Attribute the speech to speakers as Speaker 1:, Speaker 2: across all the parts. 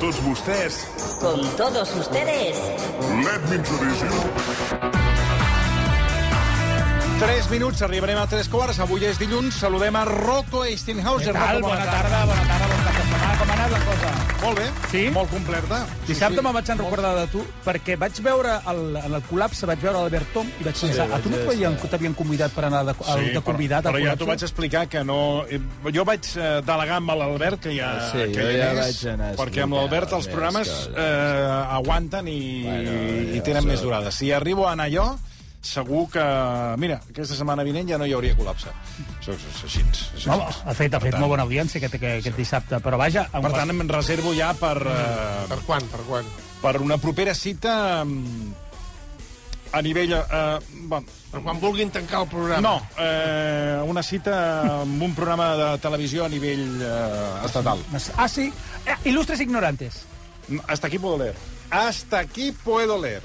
Speaker 1: todos vostès,
Speaker 2: Con todos ustedes,
Speaker 1: let me introduce you.
Speaker 3: 3 minuts, arribarem a 3 quarts. Avui és dilluns, saludem a Rocco Eisenhauser.
Speaker 4: Tal,
Speaker 3: Rocco,
Speaker 4: bona tarda, bona tarda, bona tarda. Com ha- Com ha anat la cosa?
Speaker 3: Molt bé,
Speaker 4: Sí?
Speaker 3: molt completa.
Speaker 4: Dissabte me'n vaig en recordar de tu, perquè vaig veure el, en el col·lapse, vaig veure l'Albert Tom i vaig pensar, a tu no t'havien t'havien convidat per anar de, al, de convidat
Speaker 3: però,
Speaker 4: al
Speaker 3: però ja t'ho vaig
Speaker 4: col·lapse?
Speaker 3: explicar que no... eh, Jo vaig eh, delegar amb l'Albert, que ja,
Speaker 5: Sí,
Speaker 3: que
Speaker 5: jo
Speaker 3: hi
Speaker 5: ja
Speaker 3: és,
Speaker 5: vaig anar a
Speaker 3: perquè amb
Speaker 5: explicar
Speaker 3: l'Albert els
Speaker 5: més
Speaker 3: programes
Speaker 5: coses.
Speaker 3: eh, aguanten i, bueno, i
Speaker 5: ja
Speaker 3: tenen
Speaker 5: ho
Speaker 3: més
Speaker 5: sé.
Speaker 3: durada. Si arribo a anar jo, segur que... Mira, aquesta setmana vinent ja no hi hauria col·lapse. Això és és així. és
Speaker 4: No,
Speaker 3: així.
Speaker 4: ha fet, ha fet molt bona audiència aquest, aquest, aquest dissabte, però vaja... en
Speaker 3: Per tant, em reservo ja per... Eh,
Speaker 6: Per quan, per quan?
Speaker 3: per una propera cita mm, a nivell... Eh, va,
Speaker 6: Per quan vulguin tancar el programa.
Speaker 3: no, eh, una cita amb un programa de televisió a nivell eh, estatal.
Speaker 4: qualsevol- Ah, sí? Eh, il·lustres ignorantes.
Speaker 3: Hasta aquí puedo leer. Hasta aquí puedo leer.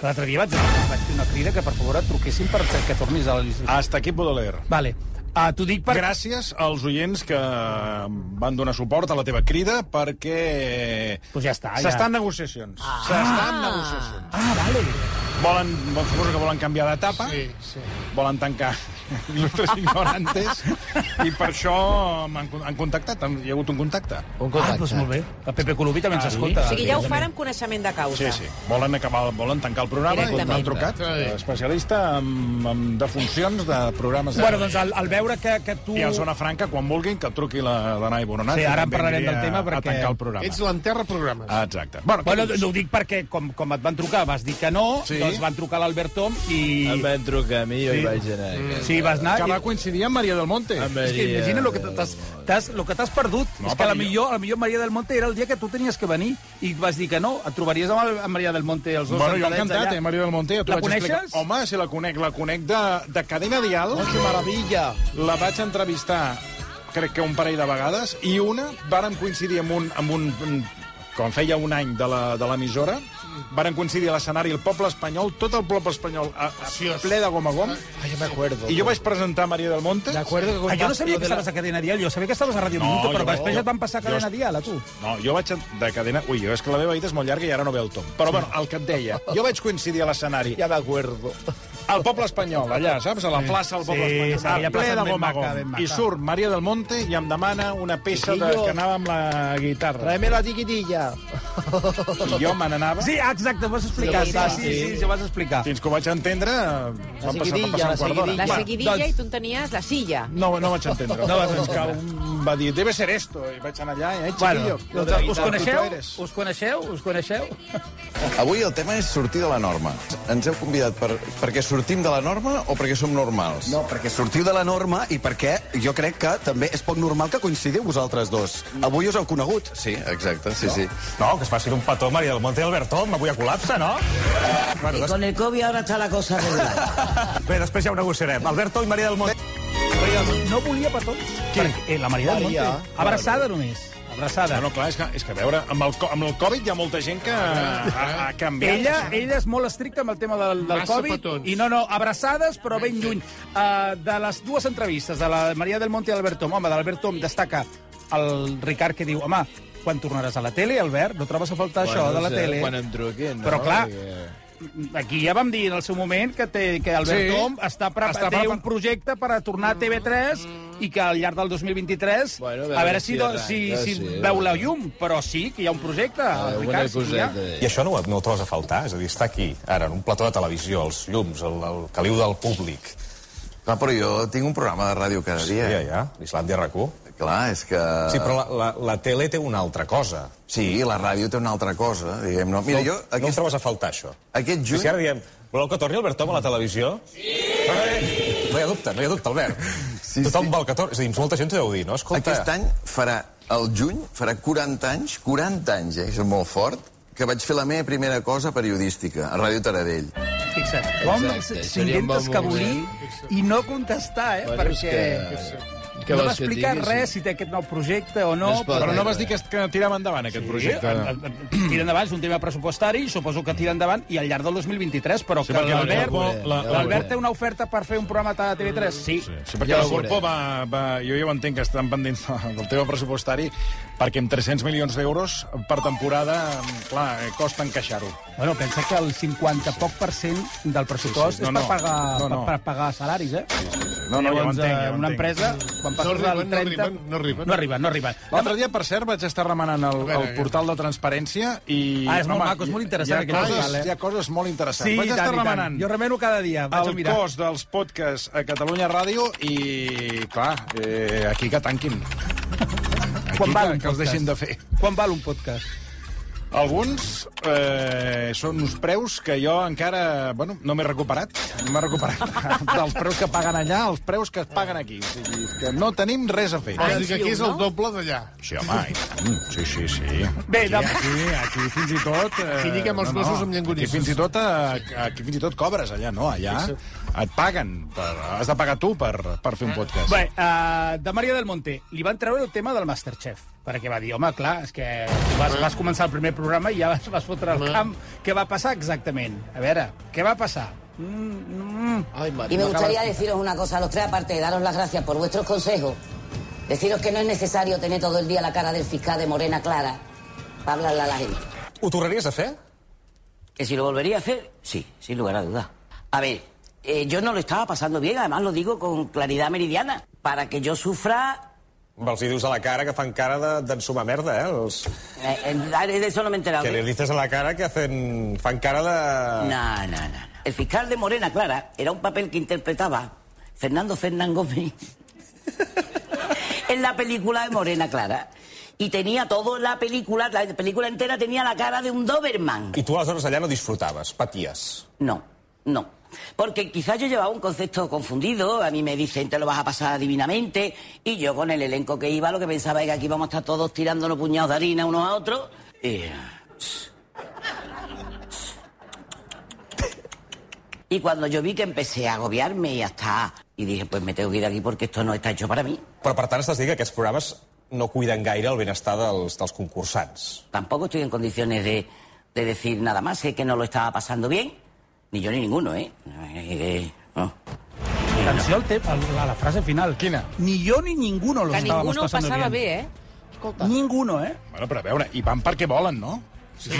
Speaker 4: Que L'altre dia vaig, vaig fer una crida que, per favor, et truquessin per que tornis a l'il·lustre.
Speaker 3: Hasta aquí puedo leer.
Speaker 4: Vale. Ah, T'ho dic per...
Speaker 3: Gràcies als oients que van donar suport a la teva crida perquè
Speaker 4: Pues ja està, ja.
Speaker 3: s'estan negociacions. S'estan negociacions.
Speaker 4: Ah, vale.
Speaker 3: Volen, bon, suposo que volen canviar d'etapa. Sí, sí. Volen tancar il·lustres ignorantes. I per això m'han con- han contactat, han- hi ha hagut un contacte.
Speaker 5: Un
Speaker 4: Ah,
Speaker 5: contacte.
Speaker 4: doncs molt bé. El Pepe Colubí també ens escolta.
Speaker 7: O sigui, ja ho fan amb coneixement de causa.
Speaker 3: Sí, sí. Volen acabar, volen tancar el programa i m'han
Speaker 7: Directament.
Speaker 3: trucat. eh, Especialista en, en defuncions de programes... De...
Speaker 4: Bueno, doncs al, al veure que, que tu...
Speaker 3: I a Zona Franca, quan vulguin, que truqui la Danai Boronat.
Speaker 4: Sí,
Speaker 3: que
Speaker 4: ara en
Speaker 3: també
Speaker 4: parlarem
Speaker 3: aniré
Speaker 4: del tema
Speaker 3: a-
Speaker 4: perquè-
Speaker 3: A tancar el programa.
Speaker 6: Ets l'enterra programes.
Speaker 3: Ah, Exacte. Bueno,
Speaker 4: Bueno,
Speaker 3: què dius?
Speaker 4: no ho dic perquè, com, com et van trucar, vas dir que no,
Speaker 3: Sí.
Speaker 4: sí. doncs van trucar a l'Albert Tom i...
Speaker 5: Em van trucar a mi, jo
Speaker 4: Sí.
Speaker 5: hi vaig anar. Mm.
Speaker 4: Sí, vas anar...
Speaker 3: que
Speaker 4: I...
Speaker 3: va coincidir amb Maria del Monte.
Speaker 5: Amb
Speaker 4: És que
Speaker 5: Maria.
Speaker 4: imagina lo que t'has t'has- lo que t'has perdut.
Speaker 3: No,
Speaker 4: No, és que a la
Speaker 3: però jo-
Speaker 4: millor, a la millor Maria del Monte era el dia que tu tenies que venir i vas dir que no, et trobaries amb, el, amb Maria del Monte els dos
Speaker 3: Bueno, jo
Speaker 4: sentadets
Speaker 3: encantat,
Speaker 4: allà.
Speaker 3: eh, Maria del Monte. Ja t'ho
Speaker 4: La
Speaker 3: vaig
Speaker 4: coneixes?
Speaker 3: explicar. Home, si la conec, la conec de, de Cadena Dial.
Speaker 5: Oh, que meravella!
Speaker 3: La vaig entrevistar, crec que un parell de vegades, i una vàrem coincidir amb un... Amb un quan feia un any de la- de l'emissora, varen coincidir a l'escenari el poble espanyol, tot el poble espanyol a, a ple de gom a gom,
Speaker 5: Ai, ja m'acuerdo.
Speaker 3: i jo vaig presentar Maria del Monte.
Speaker 5: M'acuerdo que...
Speaker 4: Ah,
Speaker 5: quan
Speaker 4: jo no
Speaker 5: vas-
Speaker 4: sabia
Speaker 5: lo
Speaker 4: que
Speaker 5: de la-
Speaker 4: estaves a Cadena Dial, jo sabia que estaves a Ràdio
Speaker 3: No,
Speaker 4: Minuto,
Speaker 3: jo-
Speaker 4: però després
Speaker 3: jo-
Speaker 4: et van passar a
Speaker 3: jo-
Speaker 4: Cadena Dial, a tu.
Speaker 3: No, jo vaig de cadena... Ui, és que la meva vida és molt llarga i ara no ve el tom. Però, bueno, el que et deia, jo vaig coincidir a l'escenari
Speaker 5: Ja m'acuerdo.
Speaker 3: al poble espanyol, allà, saps? A la plaça del poble
Speaker 4: Sí,
Speaker 3: espanyol.
Speaker 4: sí, aquella
Speaker 3: a ple
Speaker 4: plaça
Speaker 3: de
Speaker 4: ben
Speaker 3: gom a
Speaker 4: maca, ben
Speaker 3: gom.
Speaker 4: maca.
Speaker 3: I surt Maria del Monte i em demana una peça de,
Speaker 5: Chiquillo.
Speaker 3: que anava amb la guitarra.
Speaker 5: Traeme la tiquitilla.
Speaker 3: I jo me n'anava.
Speaker 4: Sí, ah, exacte, ho vas explicar.
Speaker 5: Sí,
Speaker 4: Sí, sí, sí, sí, sí ho vas explicar.
Speaker 3: Fins que ho vaig entendre,
Speaker 5: La
Speaker 3: eh, van passar, va
Speaker 5: seguidilla,
Speaker 3: passar
Speaker 5: la
Speaker 3: un quart d'hora.
Speaker 5: seguidilla.
Speaker 7: La
Speaker 3: Bueno,
Speaker 7: seguidilla
Speaker 4: doncs-
Speaker 7: i tu en tenies la silla.
Speaker 3: No, no vaig entendre. No, doncs que un va dir, debe ser esto. I vaig anar allà i, eh, chiquillo,
Speaker 4: Bueno, doncs, us
Speaker 3: guitarra, tu
Speaker 4: coneixeu?
Speaker 3: eres.
Speaker 4: Us coneixeu? Us coneixeu?
Speaker 8: Avui el tema és sortir de la norma. Ens heu convidat per, perquè sortim de la norma o perquè som normals?
Speaker 9: No, perquè sortiu de la norma i perquè jo crec que també és poc normal que coincidiu vosaltres dos. Avui us heu conegut.
Speaker 8: Mm. Sí, exacte, sí, no. sí.
Speaker 10: No, que es facin un petó, Maria del Monte i Albert Tom, avui a col·lapse, no?
Speaker 2: y con el COVID ahora está la cosa regular.
Speaker 10: Bé, després ja ho negociarem. Albert Tom i Maria del Monte.
Speaker 4: No volia petons. Perquè, eh, la Maria del Monte.
Speaker 5: Maria.
Speaker 4: Abraçada només. Abraçada.
Speaker 3: No, no, clar, és que, és que a veure, amb el, co- amb el Covid hi ha molta gent que ha, ha canviat.
Speaker 4: Ella, ella és molt estricta amb el tema del, del
Speaker 6: Massa
Speaker 4: Covid.
Speaker 6: petons.
Speaker 4: I no, no, abraçades, però ben lluny. Uh, de les dues entrevistes, de la Maria del Monte i l'Albert Tom, home, de l'Albert Tom destaca el Ricard que diu, home, quan tornaràs a la tele, Albert? No trobes a faltar bueno, això de la
Speaker 5: sé,
Speaker 4: tele?
Speaker 5: Quan em truquin, no?
Speaker 4: Però, clar,
Speaker 5: Perquè-
Speaker 4: Aquí ja vam dir en el seu moment que, té, que Albert
Speaker 3: Sí.
Speaker 4: sí, Tom està pre
Speaker 3: Està
Speaker 4: està
Speaker 3: pre-
Speaker 4: té un projecte per a tornar a TV3 i que al llarg del 2023
Speaker 5: Mm. Bueno,
Speaker 4: bueno,
Speaker 5: a veure
Speaker 4: a veure, a veure
Speaker 5: si
Speaker 4: si, do,
Speaker 5: arranca,
Speaker 4: si, si
Speaker 5: sí.
Speaker 4: veu la llum, però sí que hi ha un projecte.
Speaker 5: Ah,
Speaker 4: Ricard,
Speaker 5: Alguna
Speaker 4: sí que hi ha.
Speaker 5: coseta.
Speaker 10: I això no, ho- no ho trobes a faltar? És a dir, està aquí, ara, en un plató de televisió, els llums, el, el caliu del públic.
Speaker 8: Clar, però jo tinc un programa de ràdio cada
Speaker 10: Ja,
Speaker 8: dia.
Speaker 10: ja, ja. Islàndia RAC1.
Speaker 8: Clar, és que...
Speaker 10: Sí, però la, la, la tele té una altra cosa.
Speaker 8: Sí, la ràdio té una altra cosa, diguem-ne. Mira,
Speaker 10: no,
Speaker 8: jo
Speaker 10: no ho
Speaker 8: aquest,
Speaker 10: trobes a faltar, això.
Speaker 8: aquest
Speaker 10: I
Speaker 8: juny...
Speaker 10: si ara diem, voleu que torni Albert Tom a la televisió? Sí! No, no, no hi ha dubte, no hi ha dubte, Albert.
Speaker 8: Sí,
Speaker 10: Tothom
Speaker 8: sí.
Speaker 10: vol que torni. És a dir, molta gent t'ho deu dir, no? Escolta,
Speaker 8: Aquest any farà, el juny, farà 40 anys, 40 anys, eh, això és molt fort, que vaig fer la meva primera cosa periodística, a Ràdio Taradell.
Speaker 4: Fixa't, com
Speaker 5: Exacte, seria un
Speaker 4: s'intenta
Speaker 5: bon
Speaker 4: escabolir i no contestar, eh?
Speaker 5: Bueno, és
Speaker 4: perquè...
Speaker 5: que- Què
Speaker 4: no va
Speaker 5: vols que et
Speaker 4: explicar
Speaker 5: digui?
Speaker 4: res, si té aquest nou projecte o no.
Speaker 5: No es pot. eh?
Speaker 3: Però no vas dir que, es- que tirava endavant aquest projecte.
Speaker 4: Tira endavant, és un tema pressupostari, suposo que tira endavant, i al llarg del 2023, però
Speaker 3: Sí,
Speaker 4: que
Speaker 3: perquè la
Speaker 4: l'Albert
Speaker 3: Corpo- la- la-
Speaker 4: l'Albert té una oferta per fer un programa a TV3? Sí.
Speaker 3: Sí,
Speaker 5: Ja
Speaker 3: perquè
Speaker 5: ho
Speaker 3: ja el Corpo
Speaker 5: veurem.
Speaker 3: va, va... Jo ja ho entenc, que estan pendents del tema pressupostari, perquè amb 300 milions d'euros per temporada, clar, eh, costa encaixar-ho.
Speaker 4: Bueno, pensa que el 50 poc per cent del pressupost
Speaker 3: Sí, sí. No,
Speaker 4: és per
Speaker 3: no.
Speaker 4: pagar,
Speaker 3: No, no.
Speaker 4: Per, per pagar salaris, eh?
Speaker 3: No, no, ja ho
Speaker 4: Llavors,
Speaker 3: entenc, ja
Speaker 4: eh,
Speaker 3: ho
Speaker 4: una
Speaker 3: entenc.
Speaker 4: empresa, quan passes
Speaker 6: arriben,
Speaker 4: del
Speaker 6: no
Speaker 4: 30...
Speaker 6: arriben, no arriben.
Speaker 4: No arriben, no arriben.
Speaker 3: L'altre dia, per cert, vaig estar remenant el,
Speaker 6: veure,
Speaker 3: el portal de transparència i...
Speaker 4: eh, Ah, és molt maco, és molt interessant
Speaker 3: hi ha
Speaker 4: aquest
Speaker 3: coses,
Speaker 4: portal, eh?
Speaker 3: Hi ha coses molt interessants.
Speaker 4: Sí,
Speaker 3: vaig
Speaker 4: i
Speaker 3: estar
Speaker 4: tant, i tant.
Speaker 3: remenant
Speaker 4: Jo remeno cada dia, vaig a
Speaker 3: el
Speaker 4: mirar.
Speaker 3: cost dels podcasts a Catalunya Ràdio i, clar, eh, aquí que tanquin. Aquí
Speaker 4: Quan val
Speaker 3: que,
Speaker 4: un
Speaker 3: que els
Speaker 4: podcast?
Speaker 3: deixin de fer.
Speaker 4: Quan val un podcast?
Speaker 3: Alguns eh, són uns preus que jo encara... Bueno, no m'he recuperat. No m'he recuperat dels preus que paguen allà, els preus que es paguen aquí. O sigui, que no tenim res a fer.
Speaker 6: Vols dir que aquí és el
Speaker 7: no?
Speaker 6: doble d'allà.
Speaker 3: Sí, home, i tant. Sí, sí, sí.
Speaker 4: Bé,
Speaker 3: aquí,
Speaker 4: de-
Speaker 3: aquí, aquí fins i tot... Eh,
Speaker 6: Aquí lliguem els gossos amb
Speaker 3: Aquí
Speaker 6: llangonisses.
Speaker 3: fins i tot, eh, aquí fins i tot cobres, allà, no? Allà et paguen. Per, has de pagar tu per, per fer un podcast.
Speaker 4: Bé, uh, de Maria del Monte, li van treure el tema del Masterchef, perquè va dir, home, clar, és que vas, vas començar el primer programa i ja vas, vas fotre al camp. Què va passar exactament? A veure, què va passar? Mm, mm.
Speaker 5: Ay,
Speaker 2: Y me
Speaker 5: María.
Speaker 2: gustaría deciros una cosa a los tres, aparte de daros las gracias por vuestros consejos, deciros que no es necesario tener todo el día la cara del fiscal de Morena Clara para hablarle a la gente.
Speaker 10: Ho tornaries a fer?
Speaker 2: ¿Que si lo volvería a hacer? Sí, sin lugar a dudas. A ver, eh, yo no lo estaba pasando bien, además lo digo con claridad meridiana. Para que yo sufra...
Speaker 10: Els hi dius a la cara que fan cara de- d'ensumar merda, eh? Els...
Speaker 2: eh, eh, de eso no me he enterado.
Speaker 10: Que le dices a la cara que hacen, fan cara de...
Speaker 2: No, no, no, no. El fiscal de Morena Clara era un papel que interpretaba Fernando Fernán Gómez en la película de Morena Clara. Y tenía todo la película, la película entera tenía la cara de un Doberman.
Speaker 10: I tu aleshores allà no disfrutaves, paties.
Speaker 2: No, no. Porque quizás yo llevaba un concepto confundido, a mí me dicen te lo vas a pasar divinamente, y yo con el elenco que iba lo que pensaba es que aquí vamos a estar todos tirándonos puñados de harina unos a otros. Y, y cuando yo vi que empecé a agobiarme y hasta... Y dije, pues me tengo que ir de aquí porque esto no está hecho para mí.
Speaker 10: Però, per tant, estàs dient que aquests programes no cuiden gaire el benestar dels, dels concursants.
Speaker 2: Tampoco estoy en condiciones de, de decir nada más, sé que no lo estaba pasando bien, ni yo ni ninguno, ¿eh? Eh, eh, no.
Speaker 4: Atenció al te- al- a la frase final.
Speaker 3: Quina?
Speaker 4: Ni jo ni ninguno lo
Speaker 7: Que ningú
Speaker 4: Pues estábamos
Speaker 7: no ho
Speaker 4: pasando
Speaker 7: passava
Speaker 4: bien.
Speaker 7: bé, eh?
Speaker 4: Ninguno, eh?
Speaker 3: Bueno, però a veure, i van perquè volen, no?
Speaker 4: Sí.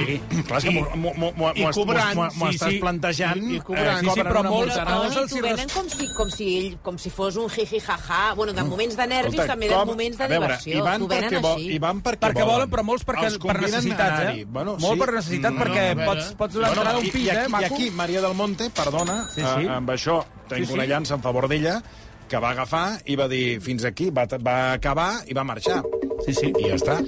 Speaker 3: Clar, és que m'ho- m'ho- m'ho- m'ho-
Speaker 6: I
Speaker 3: m'ho-
Speaker 6: cobrant,
Speaker 3: m'ho- m'ho
Speaker 6: sí,
Speaker 3: estàs
Speaker 6: sí.
Speaker 3: plantejant...
Speaker 6: I- i cobrant.
Speaker 3: eh,
Speaker 4: Sí, sí,
Speaker 3: cobren
Speaker 4: però
Speaker 3: una
Speaker 4: molts-
Speaker 3: multarada.
Speaker 4: molts
Speaker 7: Però
Speaker 4: els
Speaker 7: t'ho
Speaker 4: hi res-
Speaker 7: venen com si, com si, ell, com si fos un hi hi ha ha. Bueno, de moments de nervis,
Speaker 3: Escolta,
Speaker 7: també de
Speaker 3: com-
Speaker 7: moments de
Speaker 3: a veure,
Speaker 7: diversió.
Speaker 3: hi van
Speaker 7: T'ho venen
Speaker 3: perquè vo-
Speaker 7: així.
Speaker 3: hi van perquè
Speaker 4: Perquè
Speaker 3: volen.
Speaker 4: volen, però molts perquè,
Speaker 3: Els
Speaker 4: per
Speaker 3: conviden a
Speaker 4: necessitats,
Speaker 3: anar-hi.
Speaker 4: eh?
Speaker 3: Bueno,
Speaker 4: Molt
Speaker 3: sí.
Speaker 4: per necessitat,
Speaker 3: No,
Speaker 4: perquè
Speaker 3: no, a
Speaker 4: pots, pots donar entrada a un pis,
Speaker 3: i,
Speaker 4: eh,
Speaker 3: aquí, I
Speaker 4: maco?
Speaker 3: aquí Maria del Monte, perdona, sí,
Speaker 4: Sí,
Speaker 3: sí.
Speaker 4: sí.
Speaker 3: amb això tenc
Speaker 4: Sí, sí.
Speaker 3: una llança en favor d'ella, que va agafar i va dir fins aquí, va, va acabar i va marxar.
Speaker 4: Sí, sí.
Speaker 3: I ja està.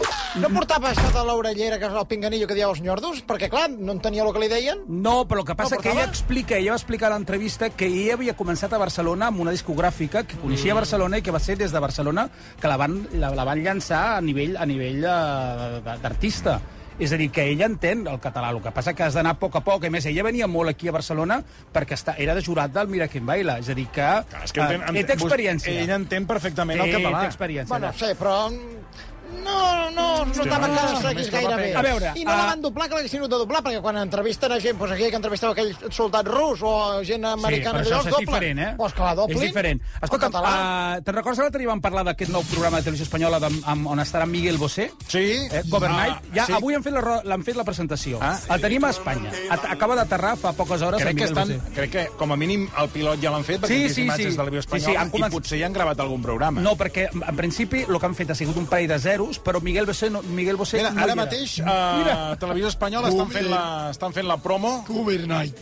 Speaker 5: No portava això de l'orellera, que és el pinganillo que dieu els nyordos? Perquè, clar, no entenia el que li deien.
Speaker 4: No, però el que passa
Speaker 5: No,
Speaker 4: que
Speaker 5: portava?
Speaker 4: ella explica, ella va explicar a l'entrevista que ella havia començat a Barcelona amb una discogràfica que coneixia a Barcelona i que va ser des de Barcelona que la van, la, la van llançar a nivell a nivell eh, de- d'artista. És a dir, que ella entén el català, el que passa que has d'anar a poc a poc. A més, ella venia molt aquí a Barcelona perquè està, era de jurat del Mira Quien Baila. És a dir, que,
Speaker 3: Clar, és que entén,
Speaker 4: eh, té experiència.
Speaker 3: Ella entén perfectament
Speaker 4: té,
Speaker 3: el català.
Speaker 4: té experiència.
Speaker 5: Bueno,
Speaker 4: allà.
Speaker 5: sí, però... mm, No, no, no estaven no, no, seguís gaire bé.
Speaker 4: A veure,
Speaker 5: I no la
Speaker 4: ah,
Speaker 5: van doblar, que l'haguessin hagut de doblar, perquè quan entrevisten a gent, doncs aquell que entrevistava aquell soldat rus o gent americana,
Speaker 4: sí, però
Speaker 5: allò els
Speaker 4: això és
Speaker 5: doblen.
Speaker 4: diferent, eh?
Speaker 5: Doncs que la doblin.
Speaker 4: És diferent.
Speaker 5: Escolta,
Speaker 4: Escolta'm, uh, te'n recordes l'altre dia vam parlar d'aquest nou programa de televisió espanyola amb, amb, on estarà Miguel Bosé?
Speaker 3: Sí.
Speaker 4: Eh, Governite.
Speaker 3: Ah,
Speaker 4: ja,
Speaker 3: sí.
Speaker 4: Avui han fet la, ro- l'han fet la presentació.
Speaker 3: Ah,
Speaker 4: Ah,
Speaker 3: sí.
Speaker 4: El tenim a Espanya. At acaba d'aterrar fa poques hores
Speaker 3: Crec
Speaker 4: amb
Speaker 3: que,
Speaker 4: Miguel
Speaker 3: estan,
Speaker 4: Bosé.
Speaker 3: crec que, com a mínim, el pilot ja l'han fet, perquè
Speaker 4: Sí,
Speaker 3: sí, sí,
Speaker 4: sí,
Speaker 3: imatges
Speaker 4: sí.
Speaker 3: de l'Avió
Speaker 4: Sí, sí,
Speaker 3: Espanyola,
Speaker 4: han
Speaker 3: i
Speaker 4: començat-
Speaker 3: potser ja han gravat algun programa.
Speaker 4: No, perquè en principi el que han fet ha sigut un parell de zeros, però Miguel Bosé no, Miguel Bosé
Speaker 3: Mira,
Speaker 4: no hi
Speaker 3: ara
Speaker 4: era.
Speaker 3: mateix a Televisió Espanyola estan fent la, estan fent la promo.
Speaker 6: Overnight.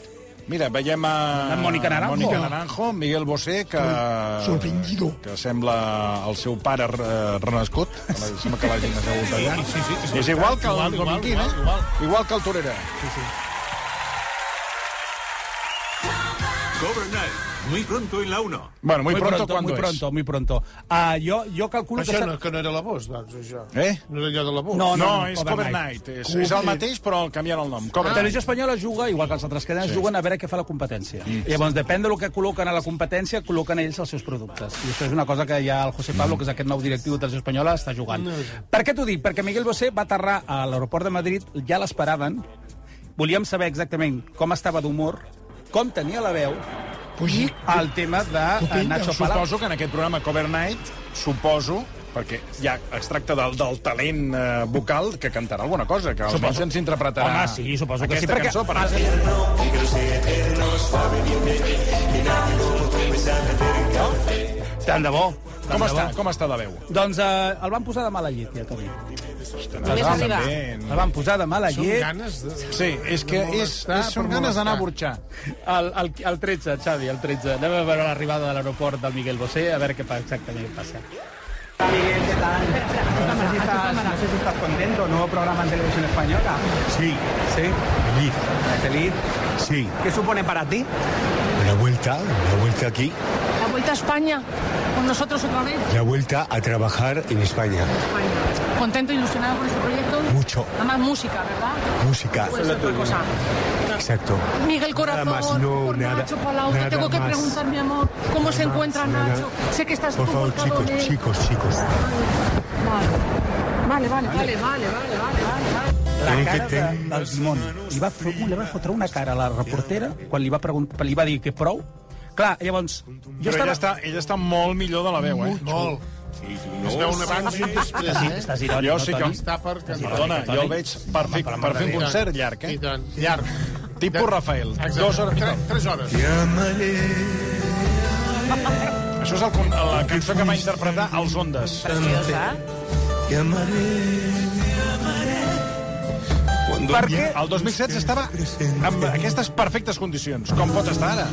Speaker 3: Mira, veiem a...
Speaker 4: La Mónica Naranjo.
Speaker 3: Mónica Naranjo, Miguel Bosé, que...
Speaker 6: sorprendido.
Speaker 3: Que sembla el seu pare eh, renascut. Sembla que l'hagin assegut allà.
Speaker 6: Sí, sí, sí, és
Speaker 3: és
Speaker 6: veritat.
Speaker 3: igual que
Speaker 6: Igual,
Speaker 3: el
Speaker 6: igual,
Speaker 3: Dominguín,
Speaker 6: igual,
Speaker 3: eh?
Speaker 6: igual.
Speaker 3: Igual que el Torera.
Speaker 1: Cover Night.
Speaker 11: Muy pronto en la 1.
Speaker 3: Bueno, muy, pronto, pronto
Speaker 4: muy
Speaker 3: ¿cuándo és?
Speaker 4: pronto, muy pronto. Ah, jo, jo calculo que...
Speaker 12: Això
Speaker 4: serà-
Speaker 12: no, que no era la voz, doncs, això.
Speaker 3: Eh?
Speaker 12: No era allò de la voz.
Speaker 3: No, no, és Cover Night. És,
Speaker 12: Cover
Speaker 3: és el
Speaker 12: Night.
Speaker 3: mateix, però canvien el nom. Cover
Speaker 4: La
Speaker 3: Night.
Speaker 4: televisió espanyola juga, igual que els altres cadenes,
Speaker 3: Sí.
Speaker 4: juguen a veure què fa la competència. Mm. Llavors, depèn del que col·loquen a la competència, col·loquen ells els seus productes. I això és una cosa que ja el José Pablo, que és aquest nou directiu de televisió espanyola, està jugant. Per què t'ho dic? Perquè Miguel Bosé va aterrar a l'aeroport de Madrid, ja l'esperaven, volíem saber exactament com estava d'humor, com tenia la veu, i el tema de eh, Nacho Palau.
Speaker 3: Suposo que en aquest programa Cover Night, suposo perquè ja es tracta del, del talent eh, vocal que cantarà alguna cosa, que
Speaker 4: Suposo.
Speaker 3: almenys ens interpretarà
Speaker 4: Home, sí, suposo que
Speaker 3: aquesta
Speaker 4: sí, perquè-
Speaker 3: cançó. Per
Speaker 4: Ah, sí. Tant de bo. Tant
Speaker 3: Com
Speaker 4: de
Speaker 3: està,
Speaker 4: bo.
Speaker 3: com està de veu?
Speaker 4: Doncs eh, el van posar de mala llet, ja t'ho dic.
Speaker 3: Només arribar.
Speaker 4: El van posar de mala
Speaker 3: Són
Speaker 4: llet.
Speaker 3: ganes de- Sí, és que és- és- són ganes d'anar a burxar.
Speaker 4: El, el, el 13, Xavi, el 13. Anem a veure l'arribada de l'aeroport del Miguel Bosé, a veure què pa- exactament passa.
Speaker 13: Miguel, ¿qué tal? No sé, si estás, no sé si estás contento, nuevo programa en televisión española. Sí. ¿Sí? Feliz. ¿Feliz? Sí. ¿Qué supone para ti?
Speaker 14: La vuelta, la vuelta aquí,
Speaker 15: La vuelta a España, con nosotros otra vez.
Speaker 14: la vuelta a trabajar en España.
Speaker 15: Contento, ilusionado con este proyecto.
Speaker 14: Mucho.
Speaker 15: Además, música, ¿verdad?
Speaker 14: Música.
Speaker 15: Puede ser otra cosa.
Speaker 14: Exacto.
Speaker 15: Miguel Corazón,
Speaker 14: Nada más, no,
Speaker 15: por
Speaker 14: nada,
Speaker 15: Nacho Palau, te
Speaker 14: nada
Speaker 15: tengo que
Speaker 14: más.
Speaker 15: preguntar, mi amor, cómo se encuentra
Speaker 14: nada.
Speaker 15: Nacho. Sé que estás
Speaker 14: Por
Speaker 15: tú
Speaker 14: favor,
Speaker 15: volcado
Speaker 14: chicos,
Speaker 15: en él.
Speaker 14: chicos, chicos.
Speaker 15: Vale, vale, vale, vale, vale, vale, vale. vale.
Speaker 4: La cara de, del Timon. Li va, fer, ui, li va fotre una cara a la reportera quan li va, preguntar, li va dir que prou. Clar, llavors...
Speaker 3: Però ella està- ella està molt millor de la veu, eh?
Speaker 4: Molt.
Speaker 12: Es veu un abans i un després, eh?
Speaker 4: Estàs- estàs irònic,
Speaker 3: jo
Speaker 4: no,
Speaker 3: sí que...
Speaker 4: Toni?
Speaker 12: Està per cantar.
Speaker 3: Perdona,
Speaker 12: Irònic,
Speaker 3: jo el
Speaker 12: Toni.
Speaker 3: veig per fer, per
Speaker 12: Home,
Speaker 3: fer un
Speaker 12: Margarida.
Speaker 3: concert llarg, eh?
Speaker 12: I tant, llarg.
Speaker 3: Tipus Rafael.
Speaker 12: Exacte.
Speaker 3: Dos hores i
Speaker 12: Tre-
Speaker 3: tal.
Speaker 12: Tres hores.
Speaker 3: Això és el, con- la cançó que va interpretar als Ondes.
Speaker 7: Preciosa.
Speaker 3: Perquè el 2016 estava amb aquestes perfectes condicions, com pot estar ara.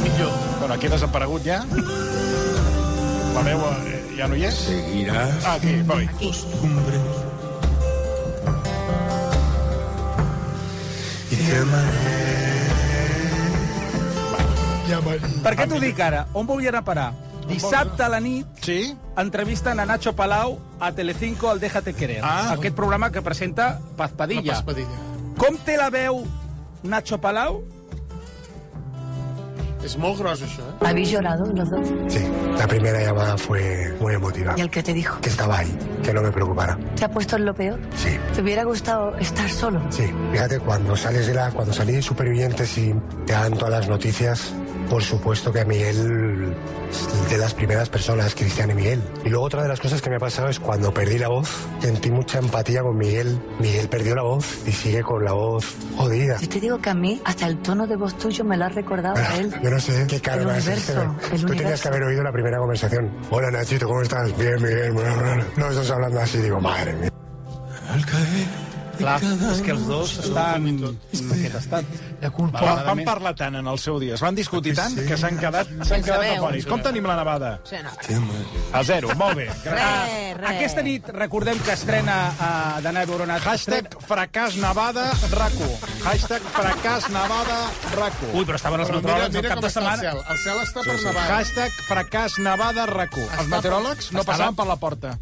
Speaker 3: Millor. Bueno, aquí ha desaparegut ja. La veu eh, ja no hi és.
Speaker 14: Seguiràs
Speaker 3: Ah, aquí, coi.
Speaker 14: costumbres.
Speaker 4: I te Per què t'ho dic ara? On volia anar a parar? Dissabte a la nit
Speaker 3: sí?
Speaker 4: entrevisten a Nacho Palau a Telecinco al Déjate Querer. Ah. Aquest programa que presenta Paz Padilla.
Speaker 12: La Paz Padilla.
Speaker 4: Com té la veu Nacho Palau?
Speaker 12: És molt gros, això, eh?
Speaker 16: ¿Habéis llorado los dos?
Speaker 14: Sí, la primera llamada fue muy emotiva.
Speaker 16: ¿Y el que te dijo?
Speaker 14: Que estaba ahí, que no me preocupara.
Speaker 16: ¿Te ha puesto en lo peor?
Speaker 14: Sí.
Speaker 16: ¿Te hubiera gustado estar solo?
Speaker 14: Sí, fíjate, cuando sales de la, cuando salí de Supervivientes y te dan todas las noticias, por supuesto que a Miguel es de las primeras personas, Cristian y Miguel. Y luego otra de las cosas que me ha pasado es cuando perdí la voz, sentí mucha empatía con Miguel. Miguel perdió la voz y sigue con la voz jodida. Ah,
Speaker 16: Si te digo que a mí, hasta el tono de voz tuyo me lo has recordado a él.
Speaker 14: Yo no sé qué
Speaker 16: El
Speaker 14: karma es este.
Speaker 16: universo, el
Speaker 14: Tú tenías
Speaker 16: universo.
Speaker 14: que haber oído la primera conversación. Hola Nachito, ¿cómo estás? Bien, Miguel. bueno, bueno. Los dos hablando así, digo, madre mía.
Speaker 4: Clar, és que els dos estan... En aquest estat.
Speaker 12: La
Speaker 3: Van, van parlar tant en el seu dia, es van discutir tant que s'han quedat, s'han
Speaker 4: Sense
Speaker 3: quedat
Speaker 4: veu.
Speaker 3: aforis. Com tenim la nevada?
Speaker 7: Sí, no.
Speaker 3: A zero, molt bé. Ah,
Speaker 4: Re, re. Aquesta nit recordem que estrena a
Speaker 3: eh,
Speaker 4: Dana Boronat.
Speaker 3: Hashtag fracàs Nevada RACU. Hashtag fracàs Nevada RACU.
Speaker 4: Ui, però estaven els
Speaker 3: Però
Speaker 4: meteoròlegs
Speaker 3: mira, mira
Speaker 4: el cap
Speaker 3: com
Speaker 4: de
Speaker 3: està el
Speaker 4: setmana.
Speaker 3: cel.
Speaker 12: El cel està per nevar.
Speaker 3: Hashtag fracàs Nevada RACU.
Speaker 12: Està
Speaker 3: Els meteoròlegs no
Speaker 4: Estava-
Speaker 3: passaven per la porta.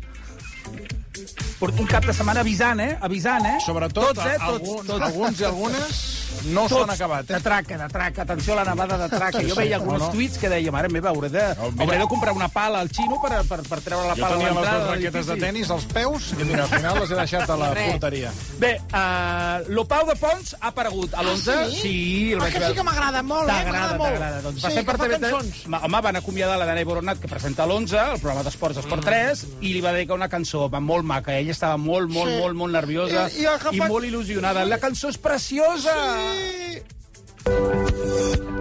Speaker 4: Porto un cap de setmana avisant, eh? Avisant, eh?
Speaker 3: Sobretot
Speaker 4: tots, eh? Tots,
Speaker 3: alguns-
Speaker 4: tots.
Speaker 3: alguns i algunes no s'ho han acabat, eh?
Speaker 4: De traca, de traca. Atenció a la nevada de traca.
Speaker 3: Sí,
Speaker 4: Jo
Speaker 3: sí.
Speaker 4: veia
Speaker 3: No,
Speaker 4: alguns
Speaker 3: no.
Speaker 4: tuits que deia, mare meva, hauré de, hauré de comprar una pala al xino per, per, per treure la
Speaker 3: Jo
Speaker 4: pala a
Speaker 3: tenia les
Speaker 4: l'entrada.
Speaker 3: dues
Speaker 4: de
Speaker 3: raquetes de
Speaker 4: l'edifici.
Speaker 3: tennis als peus i mira, al final les he deixat a la
Speaker 4: Re.
Speaker 3: porteria.
Speaker 4: Bé, uh, lo Pau de Pons ha aparegut a l'11.
Speaker 5: Ah, sí?
Speaker 4: sí? el
Speaker 5: Ah,
Speaker 4: vaig
Speaker 5: que sí
Speaker 4: veure.
Speaker 5: que m'agrada molt, eh?
Speaker 4: T'agrada,
Speaker 5: M'agrada molt.
Speaker 4: t'agrada. Doncs va
Speaker 5: Sí,
Speaker 4: ser per
Speaker 5: que fa
Speaker 4: TV3.
Speaker 5: cançons.
Speaker 4: Ma- Home, van acomiadar la Dana Boronat, que presenta a l'11, el programa d'esports
Speaker 5: Mm.
Speaker 4: d'Esport 3, i li va dedicar una cançó va, molt maca. Ella estava molt, molt,
Speaker 5: Sí.
Speaker 4: sí. molt, molt nerviosa
Speaker 5: I- i ha agafat-
Speaker 4: i molt il·lusionada. La cançó és preciosa!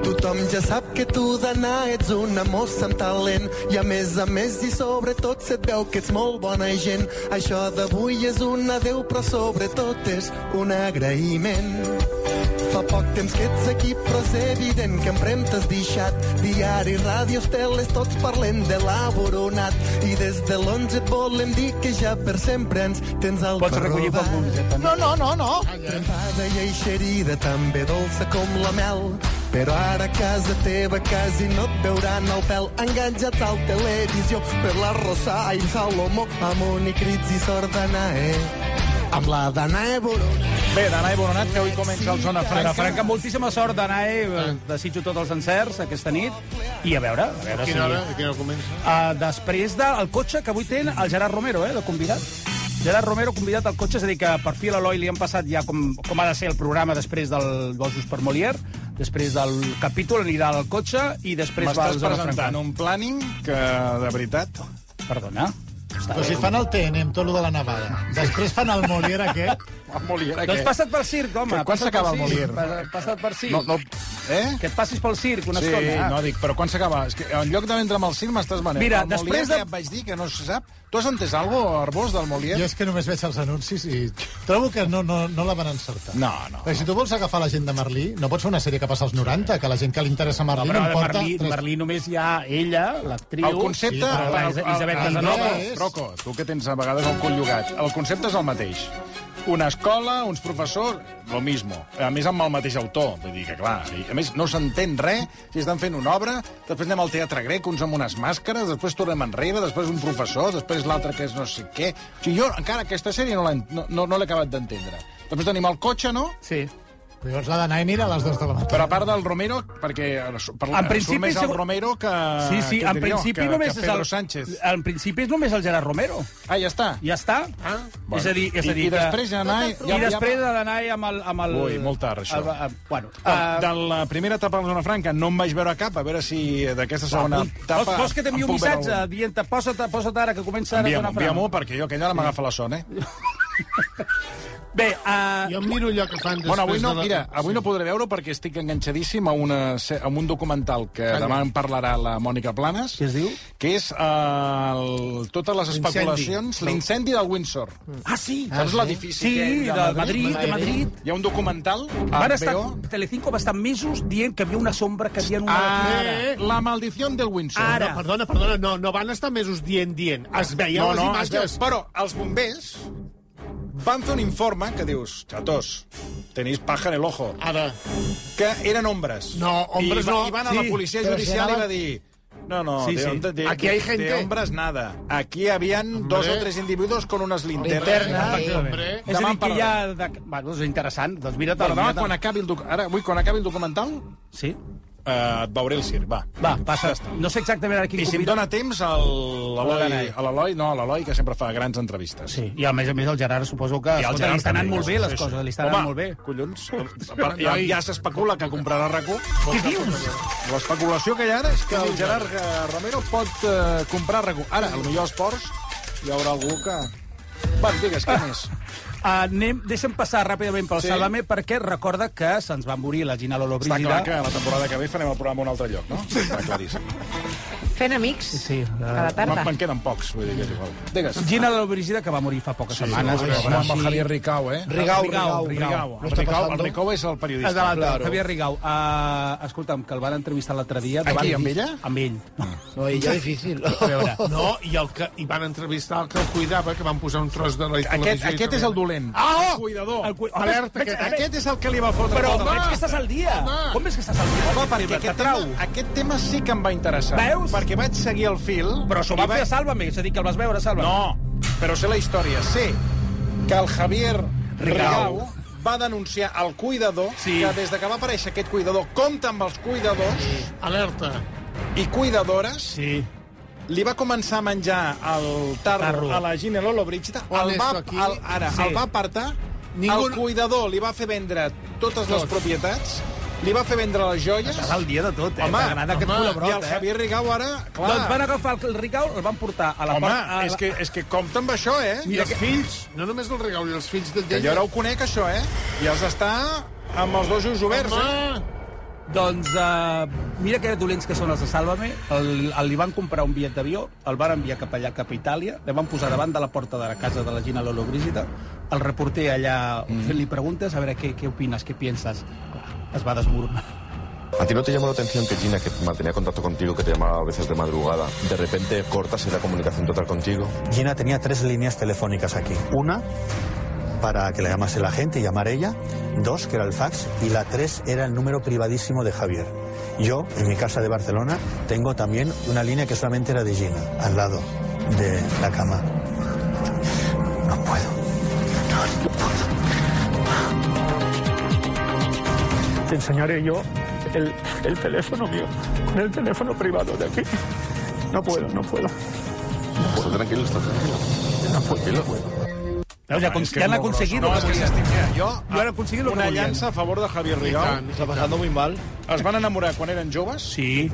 Speaker 17: Tothom ja sap que tu d'anar ets una mossa amb talent i a més a més i sobretot se't veu que ets molt bona gent. Això d'avui és un adeu però sobretot és un agraïment. Fa poc temps que ets aquí però és evident que em t'has deixat. Diari, ràdios, teles, tots parlem de l'aboronat i des de l'11 et volem dir que ja per sempre ens tens al
Speaker 4: Pots recollir
Speaker 17: barrobat.
Speaker 4: pel públic, eh, també.
Speaker 17: No, no, no, no. Trempada i eixerida, també dolça com la mel. Però ara a casa teva quasi no et veuran el pèl enganxat al televisió per la Rosa i Salomó amunt i crits i sort d'Anae amb la Danae Borona.
Speaker 3: Bé, Danae Boronat, que avui comença el Zona Franca.
Speaker 4: Zona Franca, moltíssima sort, Danae.
Speaker 5: Ah.
Speaker 4: Eh, Desitjo tots els encerts aquesta nit. I a veure... A veure
Speaker 12: A quina
Speaker 3: eh,
Speaker 12: hora, a quina hora comença?
Speaker 4: Uh, després del cotxe que avui té el Gerard Romero, eh, de convidat. Gerard Romero convidat al cotxe, és a dir, que per fi a l'Eloi li han passat ja com, com ha de ser el programa després del Bossos per Molière, després del capítol anirà al cotxe i després va al
Speaker 3: M'estàs
Speaker 4: Zona
Speaker 3: presentant
Speaker 4: Franca.
Speaker 3: un planning que, de veritat...
Speaker 4: Perdona?
Speaker 11: Però si fan el TN amb tot lo de la nevada, després fan el Molière aquest...
Speaker 3: El Molière
Speaker 4: Doncs passa't pel circ, home.
Speaker 3: Que quan
Speaker 4: passa't
Speaker 3: s'acaba
Speaker 4: pel
Speaker 3: el
Speaker 4: circ,
Speaker 3: Molière?
Speaker 4: pas- Passa't per circ.
Speaker 3: No, no, eh?
Speaker 4: Que et passis pel circ una
Speaker 3: sí,
Speaker 4: estona. eh?
Speaker 3: no, eh? dic, però quan s'acaba? És que en lloc de vendre'm el circ m'estàs venent.
Speaker 4: Mira,
Speaker 3: el
Speaker 4: després
Speaker 3: Molière ja
Speaker 4: de-
Speaker 3: et vaig dir que no se sap. Tu has entès alguna cosa, Arbós, del Molière?
Speaker 11: Jo és que només veig els anuncis i trobo que no, no, no la van encertar.
Speaker 3: No, no.
Speaker 11: Perquè si tu vols agafar la gent de Merlí, no pots fer una sèrie que passa als 90, que la gent que li interessa Merlí
Speaker 4: No,
Speaker 11: no,
Speaker 4: però
Speaker 11: en
Speaker 4: de
Speaker 11: porta...
Speaker 4: Merlí, Merlí només hi ha ella, l'actriu...
Speaker 3: El concepte...
Speaker 4: Sí, però la
Speaker 3: el-
Speaker 4: Is-
Speaker 3: el-
Speaker 4: Isabel
Speaker 3: el-
Speaker 4: Casanova.
Speaker 3: Rocco, Rocco, tu que tens a vegades el coll llogat. El concepte és el mateix. Una escola, uns professors, lo mismo. A més, amb el mateix autor. Vull dir que, clar, i a més, no s'entén res si estan fent una obra, després anem al teatre grec, uns amb unes màscares, després tornem enrere, després un professor, després l'altre que és no sé què... O sigui, jo encara aquesta sèrie no l'he no, no, no l'he acabat d'entendre. Després tenim el cotxe, no?
Speaker 4: Sí.
Speaker 11: Però llavors la d'anar i anirà a les 2 de la matina.
Speaker 3: Però a part del Romero, perquè eh, per,
Speaker 4: En principi,
Speaker 3: surt més el
Speaker 4: segur-
Speaker 3: Romero que...
Speaker 4: Sí, sí,
Speaker 3: que
Speaker 4: en
Speaker 3: Dirio,
Speaker 4: principi
Speaker 3: Ah, que,
Speaker 4: només
Speaker 3: que
Speaker 4: és
Speaker 3: Pedro
Speaker 4: el...
Speaker 3: Sánchez.
Speaker 4: En principi és només el Gerard Romero.
Speaker 3: Ah, ja està?
Speaker 4: Ja està.
Speaker 3: Ah,
Speaker 4: és a dir, és a
Speaker 3: i,
Speaker 4: dir
Speaker 3: i després ja anar...
Speaker 4: I, i després ha d'anar amb el... Amb el
Speaker 3: Ui, molt tard, això.
Speaker 4: El, el, bueno,
Speaker 3: De,
Speaker 4: ah,
Speaker 3: Ah, de la primera etapa de la Zona Franca no en vaig veure cap, a veure si d'aquesta segona etapa...
Speaker 4: Ah, vols, vols que t'enviï un missatge dient posa't, posa't ara, que comença ara
Speaker 3: Envia-m'ho,
Speaker 4: Zona Franca?
Speaker 3: envia perquè jo aquella ara m'agafa la son, eh?
Speaker 4: Bé, uh...
Speaker 12: Jo miro allò que fan després
Speaker 3: Bueno, avui no,
Speaker 12: de la...
Speaker 3: mira, avui no podré veure perquè estic enganxadíssim a, una, se- a un documental que demà en parlarà la Mònica Planes. Què es diu? Que és eh, el, totes les
Speaker 12: L'incendi.
Speaker 3: especulacions, l'incendi del Windsor.
Speaker 4: Ah, sí?
Speaker 3: Saps l'edifici?
Speaker 4: Sí,
Speaker 3: aquell
Speaker 4: de eh, Madrid, de Madrid.
Speaker 3: Hi ha un documental a
Speaker 4: Van estar,
Speaker 3: HBO.
Speaker 4: Telecinco va estar mesos dient que havia una sombra que havia en una...
Speaker 12: Ah,
Speaker 3: la maldició del Windsor.
Speaker 12: Ara. No, perdona, perdona, no, no van estar mesos dient, dient. Es veien
Speaker 3: No,
Speaker 12: les
Speaker 3: no, es
Speaker 12: imatges.
Speaker 3: veu. Però els bombers van fer un informe que dius, chatos, tenéis paja en el ojo.
Speaker 12: Ara.
Speaker 3: Que eren ombres.
Speaker 12: No, hombres
Speaker 3: I va,
Speaker 12: no.
Speaker 3: I van a
Speaker 12: Sí,
Speaker 3: la policia
Speaker 12: però si
Speaker 3: judicial i
Speaker 12: anaven-
Speaker 3: va dir... No, no,
Speaker 12: Sí,
Speaker 3: de,
Speaker 12: sí.
Speaker 3: de- de-
Speaker 12: Aquí hay gente.
Speaker 3: de hombres nada. Aquí habían
Speaker 12: Hombre.
Speaker 3: dos o tres individuos con unas linternas.
Speaker 4: Linterna,
Speaker 3: Sí, hombre.
Speaker 4: És a dir,
Speaker 3: Demà en
Speaker 4: que hi ha...
Speaker 3: parlarem.
Speaker 4: De... Bueno, és interessant, doncs mira-te'l.
Speaker 3: Bueno, demà,
Speaker 4: mira-te'l.
Speaker 3: quan acabi el, doc... Ara, avui, quan acabi el documental,
Speaker 4: sí.
Speaker 3: eh, et veuré el circ, va.
Speaker 4: Va, passa. No sé exactament ara quin
Speaker 3: I si em
Speaker 4: convidat.
Speaker 3: dóna temps, el- l'Eloi... a l'Eloi, no, a l'Eloi, que sempre fa grans entrevistes.
Speaker 4: Sí, i a més a més el Gerard suposo que...
Speaker 3: I al
Speaker 4: Escolta,
Speaker 3: Gerard
Speaker 4: li estan anant
Speaker 3: també.
Speaker 4: molt bé les
Speaker 3: Sí, sí.
Speaker 4: coses, li estan
Speaker 3: Home,
Speaker 4: anant molt bé.
Speaker 3: collons. Ja, ja s'especula que comprarà RAC1.
Speaker 4: Què dius?
Speaker 3: L'especulació que hi ha ara és que el Gerard eh, Romero pot eh, comprar RAC1. Ara, al millor esports, hi haurà algú que... Va, digues, què més?
Speaker 4: Ah, Anem, deixa'm passar ràpidament pel
Speaker 3: Sí.
Speaker 4: sí. Salame perquè recorda que se'ns va morir la Gina Lolo
Speaker 3: Està clar
Speaker 4: Brígida.
Speaker 3: que la temporada que ve farem el programa a un altre lloc, no? Està claríssim.
Speaker 15: Fent amics
Speaker 4: Sí.
Speaker 15: cada tarda.
Speaker 3: Me'n queden pocs, vull dir que és igual. Digues.
Speaker 4: Gina Lolo Brígida que va morir fa poques setmanes.
Speaker 3: sí, sí. Amb el Javier Ricau, eh?
Speaker 4: Rigau,
Speaker 3: Rigau,
Speaker 4: Rigau,
Speaker 3: Rigau. El Ricau, el Ricau és el periodista.
Speaker 4: Claro. Javier Rigau. Uh, escolta'm, que el van entrevistar l'altre dia.
Speaker 3: Aquí,
Speaker 4: davant-
Speaker 3: amb ella? Ah.
Speaker 4: Amb ell.
Speaker 11: No,
Speaker 12: ella
Speaker 11: difícil.
Speaker 4: A veure.
Speaker 12: No, i el que hi van entrevistar el que el cuidava, que van posar un tros de la
Speaker 3: Aquest,
Speaker 12: televisió i
Speaker 3: aquest és el dolent.
Speaker 12: Ah, oh!
Speaker 3: Cuidador. El cui...
Speaker 12: Alerta,
Speaker 3: Veig-
Speaker 12: aquest-
Speaker 3: Aquest és el que li va fotre
Speaker 4: Però,
Speaker 3: tot el-
Speaker 4: home, veig que estàs al dia. Home. Com és que estàs al dia?
Speaker 3: Home, perquè aquest tema, aquest tema sí que em va interessar.
Speaker 4: Veus?
Speaker 3: Perquè vaig seguir el fil...
Speaker 4: Però s'ho
Speaker 3: i
Speaker 4: va fer a Sálvame, és a dir, que el vas veure a Sálvame.
Speaker 3: No, però sé la història. Sé que el Javier Rigau, va denunciar el cuidador
Speaker 12: Sí.
Speaker 3: que des de que va aparèixer aquest cuidador compta amb els cuidadors
Speaker 12: Alerta.
Speaker 3: i cuidadores sí. li va començar a menjar el tarro,
Speaker 12: Tarro.
Speaker 3: a la Gina Lolo Brígida
Speaker 12: Pon
Speaker 3: el va,
Speaker 12: esto aquí.
Speaker 3: el, ara,
Speaker 12: Sí.
Speaker 3: sí. el va apartar
Speaker 12: Ningú-
Speaker 3: Ningú... el cuidador li va fer vendre totes les
Speaker 12: Tot.
Speaker 3: propietats li va fer vendre les joies
Speaker 4: Estàs al dia de tot, eh? T'agrada aquest culebrot,
Speaker 3: i el
Speaker 4: eh?
Speaker 3: Javier Rigau ara, clar...
Speaker 4: Doncs van agafar el, el Ricau, el van portar a la
Speaker 3: Home,
Speaker 4: part... A,
Speaker 3: és, que, és que compta amb això, eh?
Speaker 12: I els fills, no només del regau, i els fills del
Speaker 3: Que jo ara ho conec, això, eh? I has d'estar amb els dos ulls oberts, eh?
Speaker 4: Doncs uh, mira que dolents que són els de Sálvame. El, el, li van comprar un bitllet d'avió, el van enviar cap allà, cap a Itàlia, li van posar davant de la porta de la casa de la Gina Lolo Brígida, el reporter allà mm. fent-li preguntes, a veure què, què opines, què pienses. Clar, es va desmoronar.
Speaker 18: ¿A ti no te llamó la atención que Gina, que mantenía contacto contigo, que te llamaba a veces de madrugada, de repente cortase la comunicación total contigo?
Speaker 9: Gina tenía tres líneas telefónicas aquí. Una
Speaker 19: para que la llamase la gente y llamar ella, dos, que era el fax, y la tres era el número privadísimo de Javier. Yo, en mi casa de Barcelona, tengo también una línea que solamente era de Gina, al lado de la cama. No puedo. No, no puedo.
Speaker 20: Te enseñaré yo el, el teléfono mío, con el teléfono privado de aquí. No puedo, no puedo.
Speaker 18: Pues tranquilo, estás tranquilo. Tranquilo.
Speaker 4: Veus, ja,
Speaker 3: és que és
Speaker 4: ja han
Speaker 3: molt
Speaker 4: aconseguit
Speaker 3: gros.
Speaker 4: el
Speaker 3: No,
Speaker 4: que
Speaker 3: és que
Speaker 4: volien.
Speaker 3: s'estic... mirant. Jo,
Speaker 4: Jo han aconseguit el que
Speaker 3: una
Speaker 4: volien.
Speaker 3: llança a favor de Javier Rigau.
Speaker 4: tant, i
Speaker 3: Trabajando muy mal. Es van enamorar quan eren joves? Sí.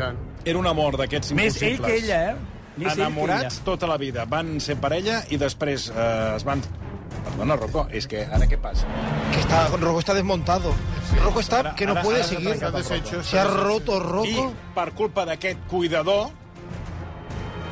Speaker 3: Era un amor d'aquests
Speaker 4: Més
Speaker 3: impossibles.
Speaker 4: ell que ella, eh? Més ell que
Speaker 3: Enamorats
Speaker 4: ella.
Speaker 3: tota la vida. Van ser parella i després eh, es van... Perdona, Rocco, és que ara què passa?
Speaker 5: Que está, Rocco está desmontado. Rocco está que no puede seguir. Se ha roto Rocco.
Speaker 3: I per culpa d'aquest cuidador,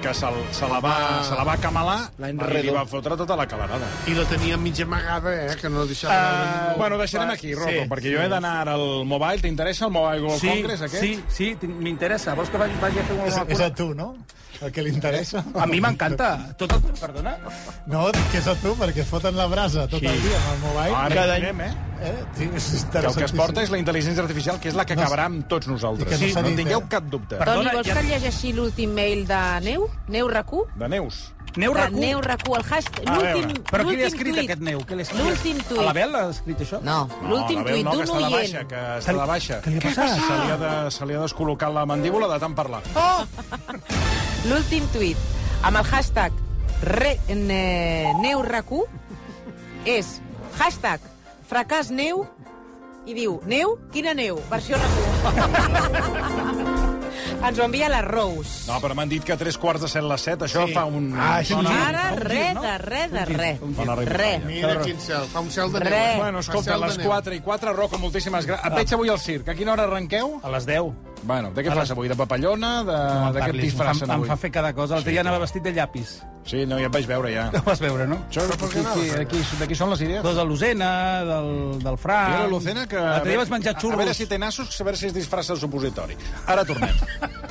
Speaker 3: que se, l- se, la va,
Speaker 12: Ah.
Speaker 3: se la va camalar
Speaker 12: La
Speaker 3: i li
Speaker 12: enredó.
Speaker 3: va fotre tota la calarada.
Speaker 12: I la tenia mig amagada, eh, que no deixava...
Speaker 3: Uh, bueno, deixarem aquí, Rocco, sí, perquè jo he d'anar ara al Mobile. T'interessa el Mobile World
Speaker 4: Sí,
Speaker 3: Congress, aquest?
Speaker 4: sí, sí, t- m'interessa. Vols que vagi, vagi a fer
Speaker 11: És,
Speaker 4: una
Speaker 11: és
Speaker 4: cura?
Speaker 11: a tu, no? El que li interessa.
Speaker 4: A mi m'encanta. Tot el... Perdona?
Speaker 11: No, dic que és a tu, perquè et foten la brasa tot
Speaker 3: Sí.
Speaker 11: el dia amb el mobile.
Speaker 3: Ara hi anem, eh?
Speaker 11: eh? Sí, és
Speaker 3: Que el que es
Speaker 11: interessantíssim.
Speaker 3: porta és la intel·ligència artificial, que és la que
Speaker 11: No sé.
Speaker 3: acabarà amb tots nosaltres.
Speaker 11: I que no s'ha
Speaker 3: no en
Speaker 11: dit,
Speaker 3: tingueu
Speaker 11: eh?
Speaker 3: cap dubte.
Speaker 4: Perdona,
Speaker 15: Toni, vols
Speaker 4: ja-
Speaker 15: que llegeixi l'últim mail de Neu? Neu Racú?
Speaker 3: De Neus.
Speaker 4: Neu
Speaker 15: De
Speaker 4: Racú?
Speaker 15: Neu Racú, el hashtag...
Speaker 4: A veure,
Speaker 15: L'últim
Speaker 4: Però qui l'ha
Speaker 15: l'últim
Speaker 4: escrit,
Speaker 15: tuit.
Speaker 4: aquest neu? Què l'ha escrit?
Speaker 15: L'últim tuit.
Speaker 4: A l'Abel l'ha escrit, això?
Speaker 15: No, l'últim
Speaker 3: la veu
Speaker 15: tuit
Speaker 3: no, que
Speaker 15: d'un
Speaker 3: està de baixa,
Speaker 15: oient.
Speaker 3: que està de baixa.
Speaker 4: Què li ha passat?
Speaker 3: Se li ha, de, se li ha descol·locat la mandíbula de tant parlar.
Speaker 15: L'últim tuit, amb el hashtag re, ne, Neu Racú, és hashtag fracàs neu i diu, neu? Quina neu? Versió Racú. Ens ho envia la Rose.
Speaker 3: No, però m'han dit que a tres quarts de set les set, això fa un...
Speaker 15: Ah, això
Speaker 3: dona-
Speaker 15: Ara, re, de re, de re.
Speaker 3: Dona ritme.
Speaker 15: Re.
Speaker 12: Mira quin cel, fa un cel de neu.
Speaker 15: Re.
Speaker 12: eh?
Speaker 3: Bueno,
Speaker 12: Fa
Speaker 3: escolta,
Speaker 12: cel
Speaker 3: a
Speaker 12: de
Speaker 3: les
Speaker 12: neu.
Speaker 3: 4 i 4, Rocco, moltíssimes gràcies. Et veig avui al circ. A quina hora arrenqueu?
Speaker 4: A les 10.
Speaker 3: Bueno, de què
Speaker 4: A
Speaker 3: fas
Speaker 4: les-
Speaker 3: avui? De papallona? De,
Speaker 4: No em
Speaker 3: de què et
Speaker 4: parlis, em
Speaker 3: disfressen
Speaker 4: fa-
Speaker 3: avui?
Speaker 4: Em fa fer cada cosa. L'altre dia anava vestit de llapis.
Speaker 3: Sí, no, ja et vaig veure, ja.
Speaker 4: Ho vas veure, no?
Speaker 3: Això, aquí, aquí, aquí, de qui són les idees?
Speaker 4: Doncs de l'Ocena, del, del Fran...
Speaker 3: Mira la Lucena que...
Speaker 4: L'altre dia vas menjar
Speaker 3: A
Speaker 4: xurros.
Speaker 3: veure si té nassos, a veure si es disfressa el supositori. Ara tornem.